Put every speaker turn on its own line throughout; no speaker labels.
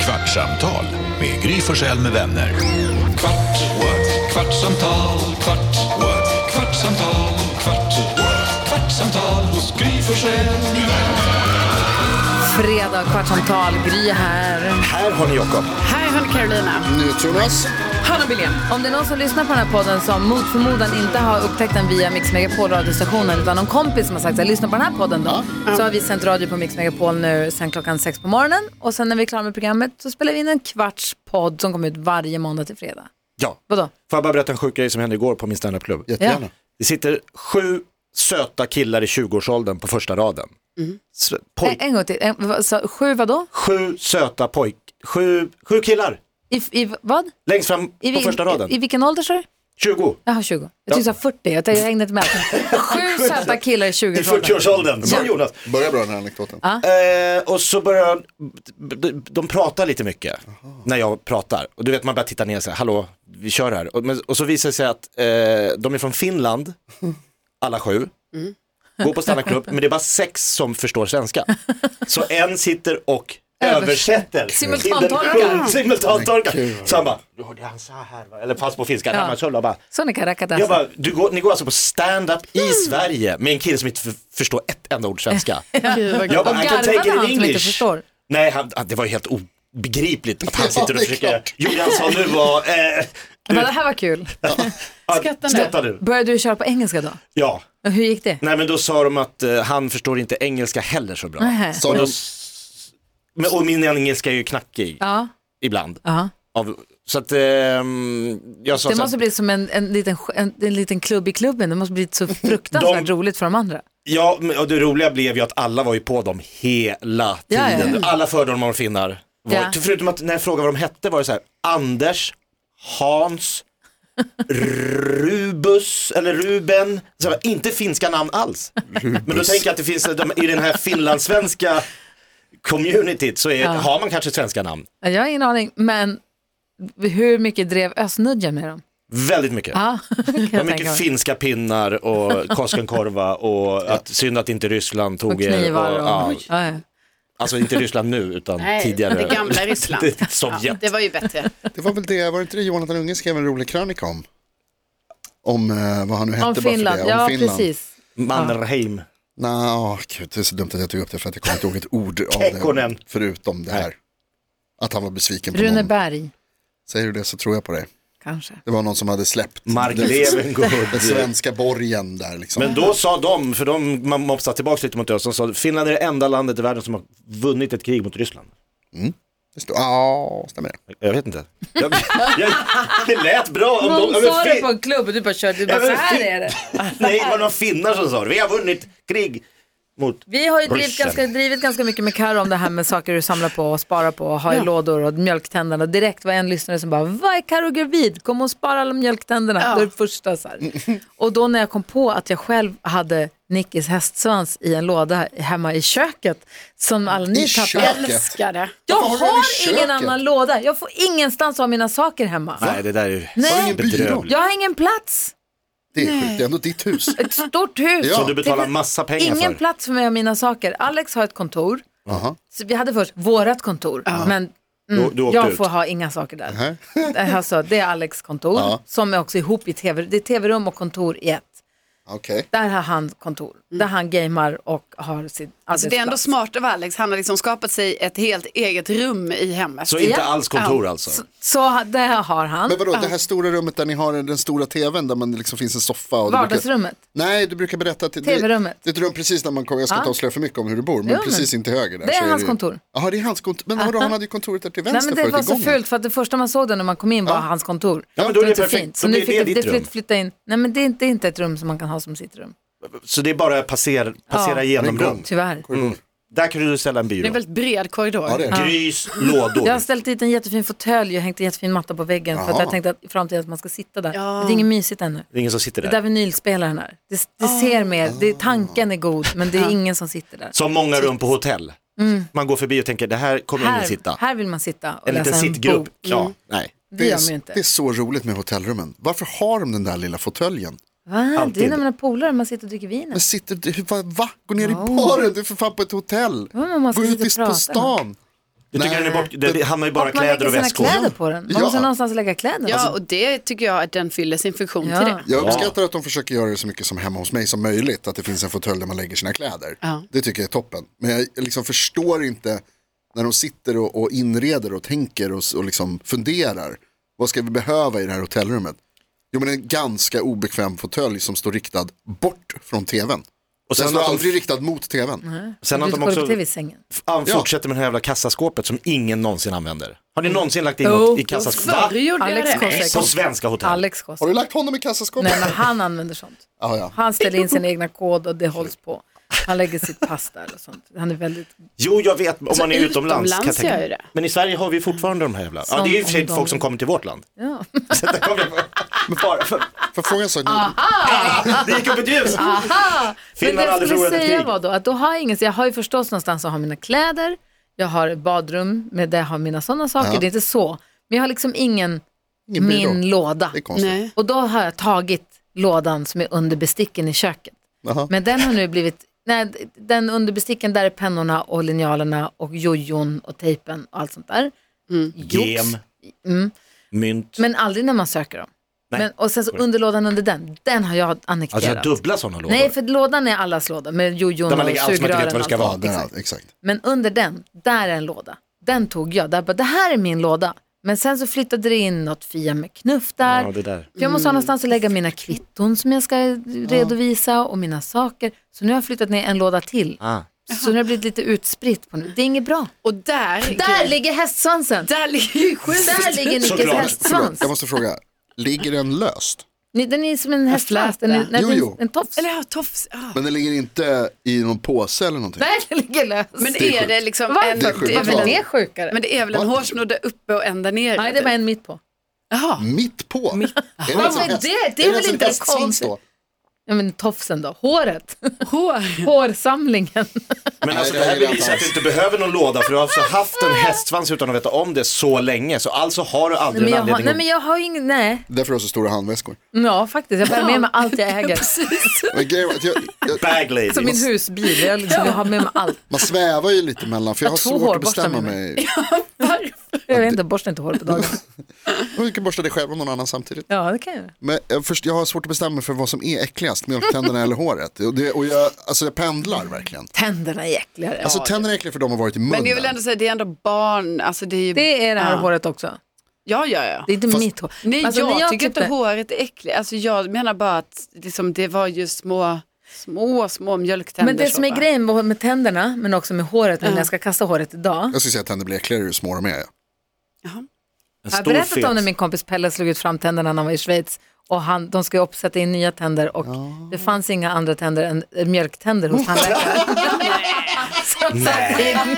Kvartsamtal med Gry Forssell med vänner. Kvart, what? kvartsamtal, kvart, what? kvartsamtal, kvart, what? kvartsamtal hos Gry Forssell med vänner.
Fredag, kvartsamtal, Gry här.
Här har ni Jakob.
Här har Carolina.
Jonas.
Hanna Billén. Om det är någon som lyssnar på den här podden som mot förmodan inte har upptäckt den via Mix Megapol radiostationen utan någon kompis som har sagt så här, lyssna på den här podden då. Så har vi sänt radio på Mix Megapol nu sen klockan sex på morgonen och sen när vi är klara med programmet så spelar vi in en kvarts podd som kommer ut varje måndag till fredag.
Ja.
Vadå?
Får jag bara berätta en sjuk grej som hände igår på min standupklubb?
Jättegärna.
Det sitter sju söta killar i 20-årsåldern på första raden.
Mm.
S-
En,
Pojk,
en gång till. En, vad sa- sju vadå?
sju söta pojk, sju, sju killar
I, i vad?
längst fram
I,
på
vil-
första raden.
I, i vilken ålder sa du?
20.
Jaha, 20. Jag tyckte du sa 40. Jag tänkte jag hängde inte med. Sju söta killar i
I
20-årsåldern.
40-årsåldern, som Jonas.
Börja bra den här anekdoten.
Eh, och så börjar, de, de pratar lite mycket när jag pratar. Och du vet man börjar titta ner och säga, hallå, vi kör här. Och, men, och så visar det sig att eh, de är från Finland, alla sju. Går på standupklubb, men det är bara sex som förstår svenska. Så en sitter och översätter.
Simultantorkar.
till den sju- Simultantorkar.
Men gud.
Så han bara, du hörde han sa här va? Eller pass på finska. Han bara, så jag bara,
Så ni kan räcka
jag bara, du går, ni går alltså på stand-up i Sverige med en kille som inte f- förstår ett enda ord svenska. Jag bara, I can take it
Garvade
in
han som inte
English.
förstår?
Nej, han, han- det var ju helt obegripligt att han sitter och
det är
försöker.
klart.
Jo, det han sa nu var... Eh,
Men det här var kul.
skrattar, skrattar du?
Började du köra på engelska då?
Ja.
Och Hur gick det?
Nej, men då sa de att eh, han förstår inte engelska heller så bra.
Nähä.
Sa de,
Men, och min engelska är ju knackig
Ja,
ibland.
ja.
Av, så att ehm, jag sa
Det
så här,
måste bli som en, en, liten, sk- en, en liten klubb i klubben. Det måste bli så fruktansvärt
De-
roligt för de andra.
ja, men- och det roliga blev ju att alla var ju på dem hela
Ja, ja.
tiden. Alla fördomar om finnar. Var,
Ja.
Förutom att när jag frågade vad de hette var det så här, Anders, Hans, Rubus eller Ruben, så här, inte finska namn alls. Men då tänker jag att det finns, de, i den här finlandssvenska communityt så är, har man kanske svenska namn.
Jag har ingen aning, men hur mycket drev Östnudja med dem?
Väldigt mycket.
Ja, kan jag
Det var
tänka
mycket
mig.
finska pinnar och Koskenkorva och att synd att inte Ryssland tog
och knivar.
er.
Och,
ja,
ja, ja.
alltså inte Ryssland nu utan
Nej,
tidigare.
det gamla Ryssland.
Det- Sovjet.
Ja, det var ju bättre.
det var väl det, var det inte det Jonathan Unge skrev en rolig krönika om? Om eh, vad han nu hette
Om
bara för
Finland,
det. Om
ja
Finland.
precis.
Mannerheim.
Nå, åh, gud, det är så dumt att jag tog upp det för att jag kommer inte ihåg ett ord av
Kekkonen.
det. Förutom det här. Att han var besviken på någon.
Runeberg,
Säger du det så tror jag på dig.
kanske.
Det var någon som hade släppt
Mark
den- den
Levengood.
svenska borgen där liksom.
Men då sa de, för de man mopsade tillbaka lite mot oss, de sa Finland är det enda landet i världen som har vunnit ett krig mot Ryssland.
Det stod- Ja, stämmer det.
Jag vet inte. Jag, jag, det lät bra. Om de,
Någon
om
sa det
fin,
på en klubb och du bara körde, du
Ja,
bara,
men
så här
fin-
är det.
nej, det var några finnar som sa det. Vi har vunnit krig mot...
Vi har ju drivit
Ryssen.
ganska, drivit ganska mycket med Karo om det här med saker du samlar på och sparar på och har i lådor och mjölktänderna. Direkt var en lyssnare som bara, vad är Karo gravid? Kommer hon spara alla mjölktänderna? Det är det första så här. Och då när jag kom på att jag själv hade Nickis hästsvans i en låda hemma i köket som alla ni
I
tappade.
köket?
Älskar det.
Jag
Varför har du den i
har ingen
köket?
annan låda. Jag får ingenstans av mina saker hemma.
Nej, det där är ju
Nej.
ingen byrå?
bedrövligt.
Jag har ingen plats.
Det är sjukt, det är ändå ditt hus.
Ett stort hus.
Ja.
Som du
Det
betalar
finns
massa pengar
Ingen
för.
plats för mig och mina saker. Alex har ett kontor.
Aha.
Så vi hade först vårat kontor, men
Du, du åkte
jag
ut.
får ha inga saker där. alltså, det är Alex kontor, som är också ihop i tv. Det är tv-rum och kontor i ett.
Okej.
Där har han kontor, där han gamer och har sin
Mm. Alltså, det är ändå
arbetsplats.
smart av Alex. Han har liksom skapat sig ett helt eget rum i hemmet.
Så inte
Ja.
alls kontor alltså.
Så ha- det har han.
Men vadå, det här stora rummet där ni har den stora tvn där man liksom finns en soffa. Och du Brukar...
Vardagsrummet.
Nej, du brukar berätta att det-
TV-rummet.
Det är ett rum precis när man kommer, jag ska inte avslöja för mycket om hur du bor, men
Jo, men-
precis inte höger där.
Det är
så
hans
ju-
kontor.
Jaha, det är hans kontor. Men vadå, han hade ju kontoret där till
Nej,
vänster
men det
förut
var
i
så
gången.
fult för att det första man såg den när man kom in var hans kontor.
Ja, men då
Det
är
var
det
inte
perfekt.
fint. Så
Då
nu
blir det
fick det
ditt
flyt,
rum.
flytta in. Nej men det är, inte, det är inte ett rum som man kan ha som sitt rum.
Så det är bara att passera, passera
Ja.
igenom
Det är
rum.
Tyvärr.
Mm. Där kan du ställa en
Det är en
byrå.
väldigt bred korridor.
Ja, det är.
Grys, lådor.
Jag har ställt dit en jättefin fåtölj och hängt en jättefin matta på väggen för att jag
Jaha.
tänkte att i framtiden att man ska sitta där.
Ja.
Men Det är inget mysigt ännu.
Det är ingen som sitter
Det är där
där.
vinylspelaren är. Det, det
Ah.
ser mer,
Ah.
det, tanken är god men det är ingen som sitter där.
Som många rum på hotell. Man går förbi och tänker, det här kommer ingen sitta.
Mm. Här, här vill man sitta och
En liten
läsa en
sittgrupp.
bok. Mm.
Ja, nej.
Det
Det
gör man ju
är,
inte.
det är så roligt med hotellrummen. Varför har de den där lilla fåtöljen?
Va? Det är
alltid.
när man har polare man sitter och dricker vin.
Men sitter du, va, va? Gå ner i baren, du är för fan på ett hotell.
men man ska
Gå
sitta
ut
och
i, på
prata.
stan.
Du tycker
Nej.
den är bort, det, det hamnar ju bara
Att man
kläder
lägger
och
sina
väskor.
kläder på den. Man
Ja.
måste någonstans lägga kläderna.
Ja,
Alltså,
och det tycker jag att den fyller sin funktion
Ja.
till det.
Jag uppskattar att de försöker göra det så mycket som hemma hos mig som möjligt. Att det finns en fåtölj där man lägger sina kläder.
Ja.
Det tycker jag är toppen. Men jag liksom förstår inte när de sitter och, och inreder och tänker och, s- och liksom funderar. Vad ska vi behöva i det här hotellrummet? Jo men en ganska obekväm fåtölj som står riktad bort från tvn.
Och
Den
sen
står
att
aldrig
de,
riktad mot tvn.
sen att
du
de
kollar
också
på tv i sängen.
fan
Ja.
fortsätter med det här jävla kassaskåpet som ingen någonsin använder. Har ni någonsin lagt in
Mm. Jo.
något i kassaskåpet? Va?
Förr gjorde
Alex
jag det.
kom säkert.
På svenska hotell?
Alex
Har
Kostas.
du lagt honom i kassaskåpet?
Nej, men han använder sånt.
Ah, ja.
Han ställer in sina egna kod och det hålls på. Han lägger sitt pass där och sånt. Han är väldigt...
Jo, jag vet, om
Så
man är utomlands.
utomlands
tänka
gör
mig.
ju det.
Men i Sverige har vi fortfarande de här jävla, ja
Som
det är ju i och för sig
om de-
folk som kommer till vårt land.
Ja.
Så där kommer jag- Men bara för,
För frågan så,
det gick upp ett ljus.
Men det
Finland har
jag skulle
aldrig förlorat ett
säga
krig.
var då att då har jag ingen, så jag har ju förstås någonstans att ha mina kläder, jag har ett badrum med där jag har mina sådana saker, det är inte så. Men jag har liksom ingen,
Ingen byrå.
min låda.
det är konstigt.
Nej.
Och då har jag tagit lådan som är under besticken i köket.
Jaha.
Men den har nu blivit, nej, den under besticken där är pennorna och linjalerna och jojon och tejpen och allt sånt där. Jox.
Gem, mynt.
Mm. Men aldrig när man söker dem.
Nej.
Men, och sen så underlådan under den, den har jag annekterat.
Alltså jag har dubbla sådana lådor.
Nej, för lådan är allas låda med jojon
Där
och
man lägger allt som man inte
sugrören.
vet vad det
och
ska
allt.
vara.
Ja, där, exakt. exakt.
Men under den, där är en låda. Den tog jag. Där bara, det här är min låda. Men sen så flyttade det in något Fia med knuff där.
Ja, det där. Mm.
För jag måste ha någonstans att lägga mina kvitton som jag ska redovisa och mina saker. Så nu har jag flyttat ner en låda till.
Ah.
Så nu har det blivit lite utspritt på nu. Det är inget bra.
Och där,
Där ligger hästsvansen.
där ligger ju skiten.
Där ligger Nickes
Såklart.
hästsvans.
Jag måste fråga, ligger den löst?
Ni- Den är som en hästsvans. Den är, nej,
Jo,
den-
jo.
En tofs.
Eller ja, tofs. Ja.
Men den ligger inte i någon påse eller någonting?
Nej, den ligger lös.
Men
Det är
är det
sjukt.
liksom
Varför?
en...
Det är sjukt.
det är
Varför är
väl
det
en
sjukare?
men det är väl en
Vad?
hårsnodd där uppe och ända ner?
nej, det är bara en mitt på.
Jaha.
Mitt på? Är
Ja,
en sån
men
häst-
det- det är
en
väl
sån
inte
hästsvans
konstigt.
då?
Ja, men tofsen då. Håret.
Hår.
Hårsamlingen.
Men alltså
Nej,
det
det
här
är
bevisar
helt
att du inte behöver någon låda för du har alltså haft en hästsvans utan att veta om det så länge så alltså har du
Nej,
aldrig
men jag
en
har,
anledning
nej, men jag har ingen, nej.
Därför har jag så stora handväskor.
Ja, faktiskt. Jag bär med mig allt jag äger.
Precis.
Men grejen var att jag, jag,
att bag lady.
Som Alltså, min husbil. Jag, liksom, jag har med mig allt.
man svävar ju lite mellan, för jag
Jag
har
tror
svårt att
hårborstar
bestämma
med
mig.
Varför?
Jag vet inte, borsta inte hår på dagen.
Du kan borsta dig själv och någon annan samtidigt.
Ja, det kan jag göra.
Men jag, först, jag har svårt att bestämma mig för vad som är äckligast, mjölktänderna eller håret. Och, det, och jag, alltså jag pendlar verkligen.
Tänderna är äckligare.
Alltså tänderna är äckliga för de har varit i munnen.
Men jag vill ändå säga, det är ändå barn. Alltså, det är ju...
Det är det här
Ja.
håret också.
Ja, ja, ja.
Det är inte
Fast-
mitt hår.
Nej,
Alltså, när
jag, tycker
klippte-
inte håret är äckligt. Alltså, jag menar bara att liksom, det var ju små, små, små mjölktänder.
Men det
så
som är
bara.
grejen med- med tänderna, men också med håret, men när jag ska kasta håret idag.
Jag skulle säga att tänder blir äckligare ju små de är.
En
Jag har
stor
berättat
fet.
om när min kompis Pelle slog ut framtänderna när han var i Schweiz. Och han, de ska ju upp- sätta in nya tänder och det fanns inga andra tänder än eh, mjölktänder hos tandläkaren. Som satt in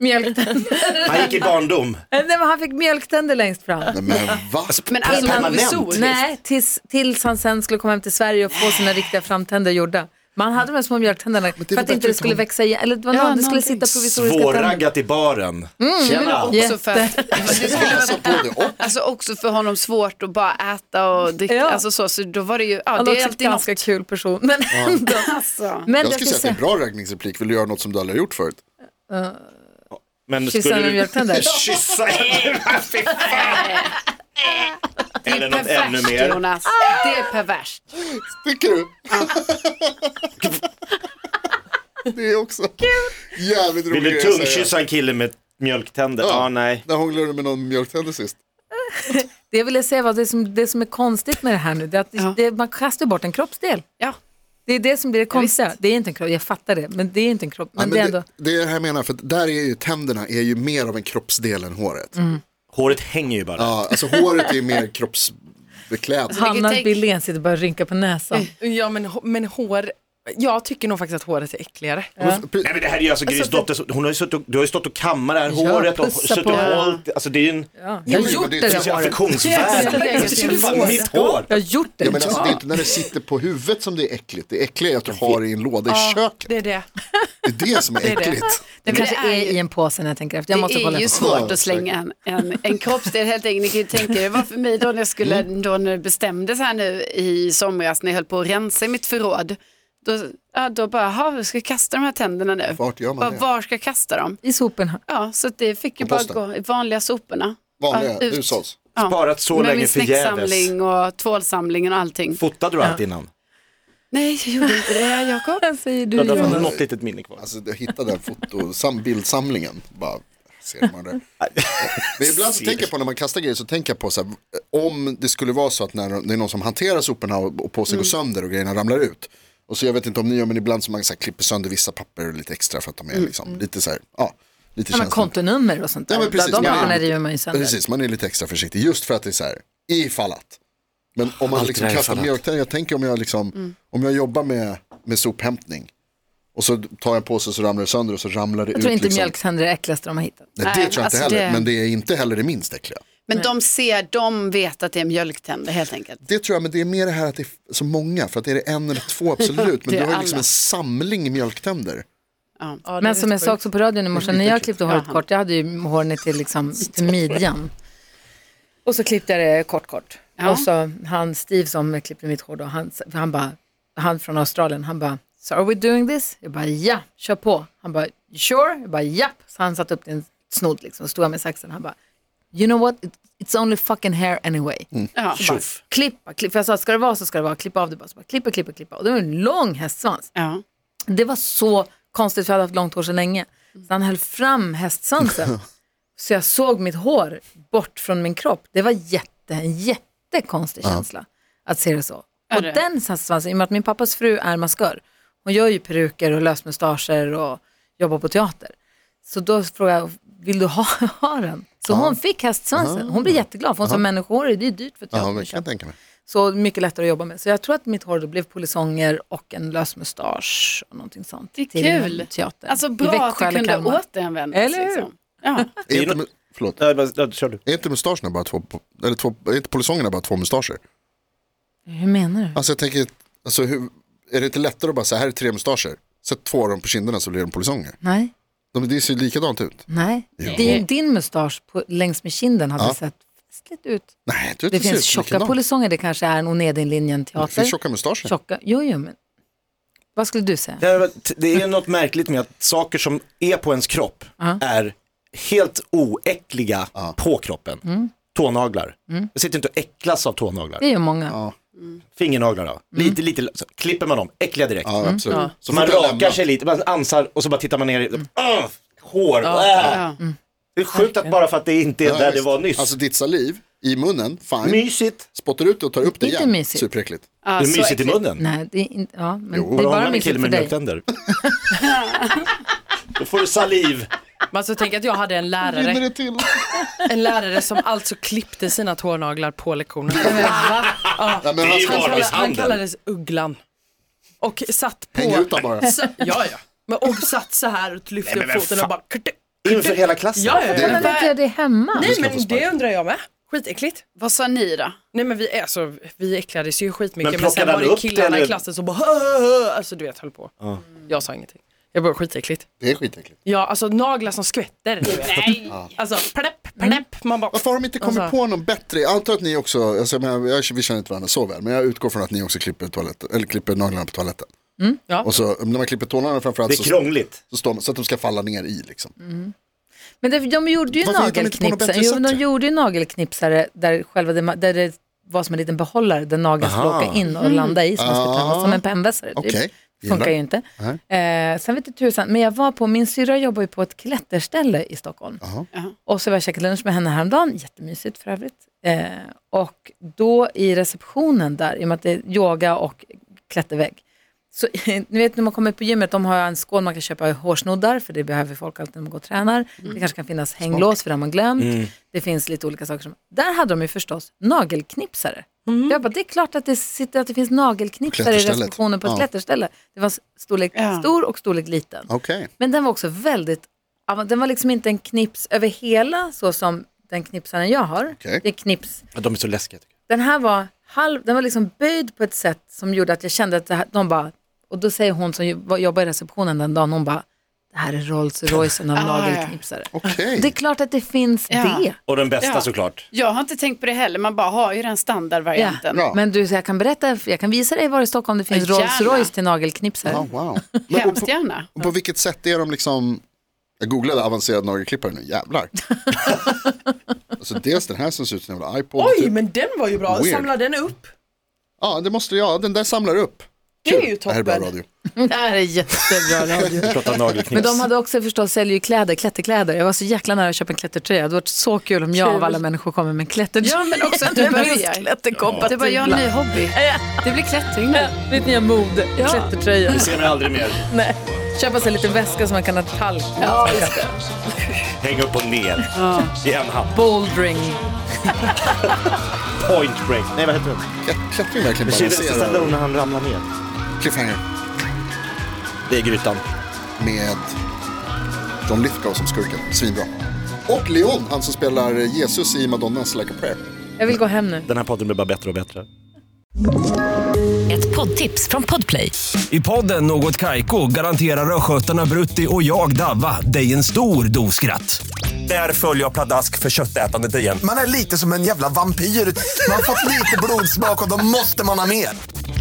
mjölktänder.
Han gick i barndom.
Nej, men han fick mjölktänder längst fram.
Nej, Men va?
Men alltså
Innan-
provisoriskt.
Nej, tills, tills han sen skulle komma hem till Sverige och få sina riktiga framtänder gjorda. Man hade de här små mjölktänderna för att
bättre
inte det
att
skulle
de-
växa igen. Eller det, var
Ja,
någon, det skulle
någonting.
sitta provisoriska tänder. Mm,
Svårraggat i baren. Tjena.
Också för att, det skulle
Alltså,
vara,
både och.
alltså också för honom svårt att bara äta och dricka.
Ja.
Alltså så, så då var det ju, ja,
Han
det
är
är
också en
alltid något.
ganska kul person. Men ändå.
Alltså.
Men
Jag skulle säga att det är en bra raggningsreplik, vill du göra något som du aldrig har gjort förut?
Men
Kyssa med
skulle du
mjölktänder.
kyssa Fy fan. Eller något ännu
Perverst
mer.
Jonas,
Ah!
det är perverst.
Tycker du? det är också jävligt roligt.
Vill du tungkyssa en kille med mjölktänder? Ja, nej.
När hånglade du med någon mjölktänder sist?
Det vill jag säga var det som, det som är konstigt med det här nu, det är att
Ja.
det, man kastar bort en kroppsdel.
Ja.
Det är det som blir det konstiga. det är inte en kropp, jag fattar det, men det är inte en kropp. Men, det är ändå,
det, det är det här jag menar, för att där är ju tänderna är ju mer av en kroppsdel än håret.
Håret hänger ju bara.
Ja, alltså håret är mer kroppsbeklädnad.
Hanna
tänk-
Billén sitter bara och rynkar på
Eh,
näsan.
Ja men, hå- men hår, jag tycker nog faktiskt att håret är äckligare.
Nej men det här är ju alltså Gris dotter, hon har ju suttit och, du har ju stått och kammat det här
Ja,
håret och
pussa
suttit och
på.
hållit, alltså det är ju en,
Ja. Jag har
men
gjort
det
det
är
det finns ju
där håret.
affektionsvärde.
Det är ju
Fan, Mitt hår!
Jag har gjort det.
Ja, men alltså, det är inte när det sitter på huvudet som det är äckligt, det äckliga är att du har det i en låda i köket.
Det är det.
Det är det som är
det.
äckligt.
det
men
kanske
det är
är,
ju-
i en påse när jag tänker efter. Jag måste
Det
kolla.
är ju
efter.
Ja,
svårt
säkert.
att slänga en, en, en kroppsdel helt enkelt. Ni kan ju tänka er vad för mig då när jag skulle, då när det bestämdes här nu i somras när jag höll på att rensa i mitt förråd. Då, ja, då bara, "Jaha, ska jag kasta de här tänderna nu?
Vart gör
Bara,
man det?
var ska jag kasta dem?
I soporna.
Ja, så att det fick ju
På
bara
posten.
gå i vanliga soporna.
Vanliga
Ja, ut.
hushålls.
Ja.
Sparat så
Med
länge
min
förgäves.
snäcksamling och tvålsamlingen och allting.
Fotade du allt innan?
Nej, jag gjorde inte det, Jakob.
Vad säger du
Du hade i alla fall
Jonas?
något litet minne kvar.
Alltså jag hittade den foto, sam, bildsamlingen. Bara, ser man det? Men ibland så tänker jag på när man kastar grejer så tänker jag på så här, om det skulle vara så att när det är någon som hanterar soporna och, och påsen går sönder och grejerna ramlar ut. Och så jag vet inte om ni gör men ibland så man så här, klipper sönder vissa papper lite extra för att de är liksom lite så här, ja, lite
Ja, men
känsliga.
kontonummer och sånt där.
Ja, men precis,
de
man är-
papperna river man ju sönder.
Precis, man är lite extra försiktig just för att det är så här, ifall att. Men om man
Allt
liksom
det här
kastar
ifall att.
mjölktänder, jag tänker om jag liksom, om jag jobbar med, med sophämtning och så tar jag en påse så ramlar det sönder och så ramlar det
Jag
ut.
tror inte
liksom.
mjölktänder är det äckligaste de har hittat.
Nej, det
Nej,
tror jag inte
alltså
heller,
det-
men det är inte heller det minst äckliga.
Men de ser, de vet att det är mjölktänder helt enkelt.
Det tror jag, men det är mer det här att det är så många, för att är det en eller två absolut, men
det
du
är
har ju liksom
alla.
en samling mjölktänder.
Men som jag sa också på radion i morse, när jag klippte håret kort, jag hade ju hår ner till, liksom, till midjan. Och så klippte jag det kort, kort.
Ja.
Och så han Steve som klippte mitt hår då, han, han, bara, han från Australien, han bara, so are we doing this? Jag bara, ja, kör på. Han bara, sure? Jag bara, japp. Så han satte upp en snodd liksom, stod jag med saxen, han bara, you know what, It- it's only fucking hair anyway.
Ja.
Så bara, klippa, klippa, för jag sa, ska det vara så ska det vara, klippa av det bara. Så bara, klippa, klippa, klippa. Och det var en lång hästsvans.
Ja.
Det var så konstigt för jag hade haft långt hår så länge. Så han höll fram hästsvansen. så jag såg mitt hår bort från min kropp. Det var jätte, en jättekonstig känsla att se det så.
Är
och
det?
den hästsvansen, i och med att min pappas fru är maskör. Hon gör ju peruker och lösmustascher och jobbar på teater. Så då frågade jag, vill du ha, ha den? Så hon fick hästsvansen. Hon blev jätteglad för hon sa människor det är dyrt för
Ja,
teatern. att
det kan jag
köpa."
tänka mig.
Så mycket lättare att jobba med. Så jag tror att mitt hår då blev polisonger och en lös mustasch och någonting sånt.
Det är
till
kul.
Teatern.
Alltså
I
bra
Växjö
att det
eller
kunde
Kalmar.
återanvändas.
Eller hur?
Liksom. Ja.
Är
ju
inte,
nå-
mu- förlåt,
Ja, men- ja, kör du.
är inte mustascherna bara två, eller två, är inte polisongerna bara två mustascher?
Hur menar du?
Alltså jag tänker, alltså, hur, är det inte lättare att bara säga här är tre mustascher, sätt två av dem på kinderna så blir de polisonger?
Nej,
De, det ser ju likadant ut.
nej. Din, din mustasch på, längs med kinden hade
Ja.
sett festligt ut.
Nej, du vet,
Det
ser
finns
ut
tjocka
likadant.
polisonger, det kanske är en
Det finns
Onedinlinjen-teater.
tjocka mustascher.
Tjocka, jo, jo, men vad skulle du säga?
Ja, men t- Det är något märkligt med att saker som är på ens kropp är helt oäckliga på kroppen. Tånaglar. Jag sitter inte och äcklas av tånaglar.
Det är ju många.
Fingernaglar då. Lite, lite, så klipper man dem, äckliga direkt.
Ja, absolut.
Mm. Så man Mm.
fort jag lämnar-
rakar sig lite, man ansar och så bara tittar man ner i, Åh, hår, äh.
Ja.
Det är sjukt att bara för att det inte är
Ja,
där det
visst.
var nyss.
Alltså ditt saliv i munnen, fine.
Mysigt.
Spottar ut det och tar upp det
Inte
igen.
mysigt.
Superäckligt.
Ja,
det är
så
mysigt i
äckligt.
munnen.
Nej, det är inte, ja, men
Jo,
det är
hånglar
bara
med
mysigt
killen
för
med
dig.
mjölktänder. Då får du saliv.
Man så tänker alltså, att jag hade en
Rinner
lärare,
det till?
en lärare som alltså klippte sina tånaglar på lektionerna.
Nej, men
är
han
ju
ska
bara-
Han, kallades, han
Barnmisshandel.
kallades Ugglan. Och satt på...
hänga ut dem bara.
Så, ja, ja. Men, och satt så här och lyfte upp foten och bara... krrt-
Inför hela klassen.
Ja, ja,
Det-
ja.
Men varför gör det hemma?
Nej, men det undrar jag med. Skitäckligt.
Vad sa ni då?
Nej men vi, alltså, vi äcklades ju skitmycket
Men
men,
plockade
sen
han
var det
upp det,
killarna
eller?
i klassen som bara "Hö, hö, hö", alltså du vet höll på. Jag sa ingenting. Jag bara skitäckligt.
Det är skitäckligt.
Ja alltså naglar som skvätter. du vet. Alltså plepp, plepp. Man bara
Varför har de inte kommit
Alltså-
på någon bättre? Jag antar att ni också, alltså, jag menar, jag, vi känner inte varandra så väl, men jag utgår från att ni också klipper, toaletten, eller klipper naglarna på toaletten.
Mm, ja.
Och så när man klipper tårna framförallt
Det
så,
är krångligt.
så, står man, så att de ska falla ner i liksom.
Mm.
Men det, de gjorde ju
Varför hittar de inte på något
nagelknipsare.
bättre
Jo,
sätt?
de gjorde ju nagelknipsare där, själva det, där det var som en liten behållare där nageln skulle
Aha.
åka in och landa i som man skulle tömma, som en pennvässare. typ.
Mm. Ah. Okej.
Det funkar ju
Gillar.
inte. Eh, sen vet du tusan, men jag var på, min syrra jobbar ju på ett klätterställe i Stockholm. Och så var jag käkade lunch med henne häromdagen, jättemysigt för övrigt. Eh, och då i receptionen där, i och med att det är yoga och klättervägg, så, ni vet när man kommer på gymmet, de har en skål man kan köpa hårsnoddar, för det behöver folk alltid när man går och tränar.
Mm.
Det kanske kan finnas hänglås för det har man glömt. Det finns lite olika saker. Som, där hade de ju förstås nagelknipsare. Jag bara, det är klart att det, sitter, att det finns nagelknipsare i
Mm. Klätterstället.
receptionen på ett
Ja.
klätterställe. Det var storlek
Ja.
stor och storlek liten.
Okej.
Men den var också väldigt, ja, den var liksom inte en knips över hela så som den knipsaren jag har.
Okej.
Det är knips.
Ja, De är så läskiga. tycker
Den här var, halv, den var liksom böjd på ett sätt som gjorde att jag kände att det här, de bara, och då säger hon som ju- var- jobbar i receptionen den dagen, hon bara, det här är Rolls Roycen av
Ah, ja.
nagelknipsare.
Okej.
Det är klart att det finns
Ja.
det.
Och den bästa
Ja.
såklart.
Jag har inte tänkt på det heller, man bara har ju den
Ja.
standardvarianten.
Bra.
Men du, så jag kan berätta, jag kan visa dig var i Stockholm det finns
Ja,
Rolls
gärna.
Royce till nagelknipsare.
Ja, wow. Men, och,
Hemskt
på,
gärna.
och på vilket sätt är de liksom, jag googlade avancerad nagelklippare nu, jävlar. alltså dels den här som ser ut som en jävla iPod.
Oj,
typ.
men den var ju bra.
Weird.
Samla den upp.
Ja, det måste jag, den där samlar upp.
Det är ju
Det här är bra
toppen.
radio.
Det här är jättebra radio.
Vi pratar
Men
nagelknips.
de hade också förstås, säljer ju kläder, klätterkläder. Jag var så jäkla nära att köpa en klättertröja. Det hade varit så kul om jag av alla människor kommer med en klättertröja.
Ja, men också att du
Den är
börjar.
just klätterkompatibla.
Det var jag en ny hobby. Det blir klättring nu.
Mitt nya mode, klättertröja.
Vi ser mig aldrig mer.
Nej. Köpa sig en liten väska som man kan ha talk med.
Häng upp och ner. I en hand.
Bouldering.
Point break. Nej vad heter den?
Jag klättrar verkligen på
Sylvester Stallone
avancerad
när han ramlar ner.
cliffhanger
Det är grytan.
med John Lithgow som skurken, svinbra. Och Leon, han som spelar Jesus i Madonnas Like a Prayer.
Jag vill gå hem nu.
Den här podden blir bara bättre och bättre.
Ett poddtips från Podplay.
I podden Något Kaiko garanterar östgötarna Brutti och jag, Davva, dig en stor dos skratt. Där följer jag pladask för köttätandet igen.
Man är lite som en jävla vampyr. Man har fått lite blodsmak och då måste man ha mer.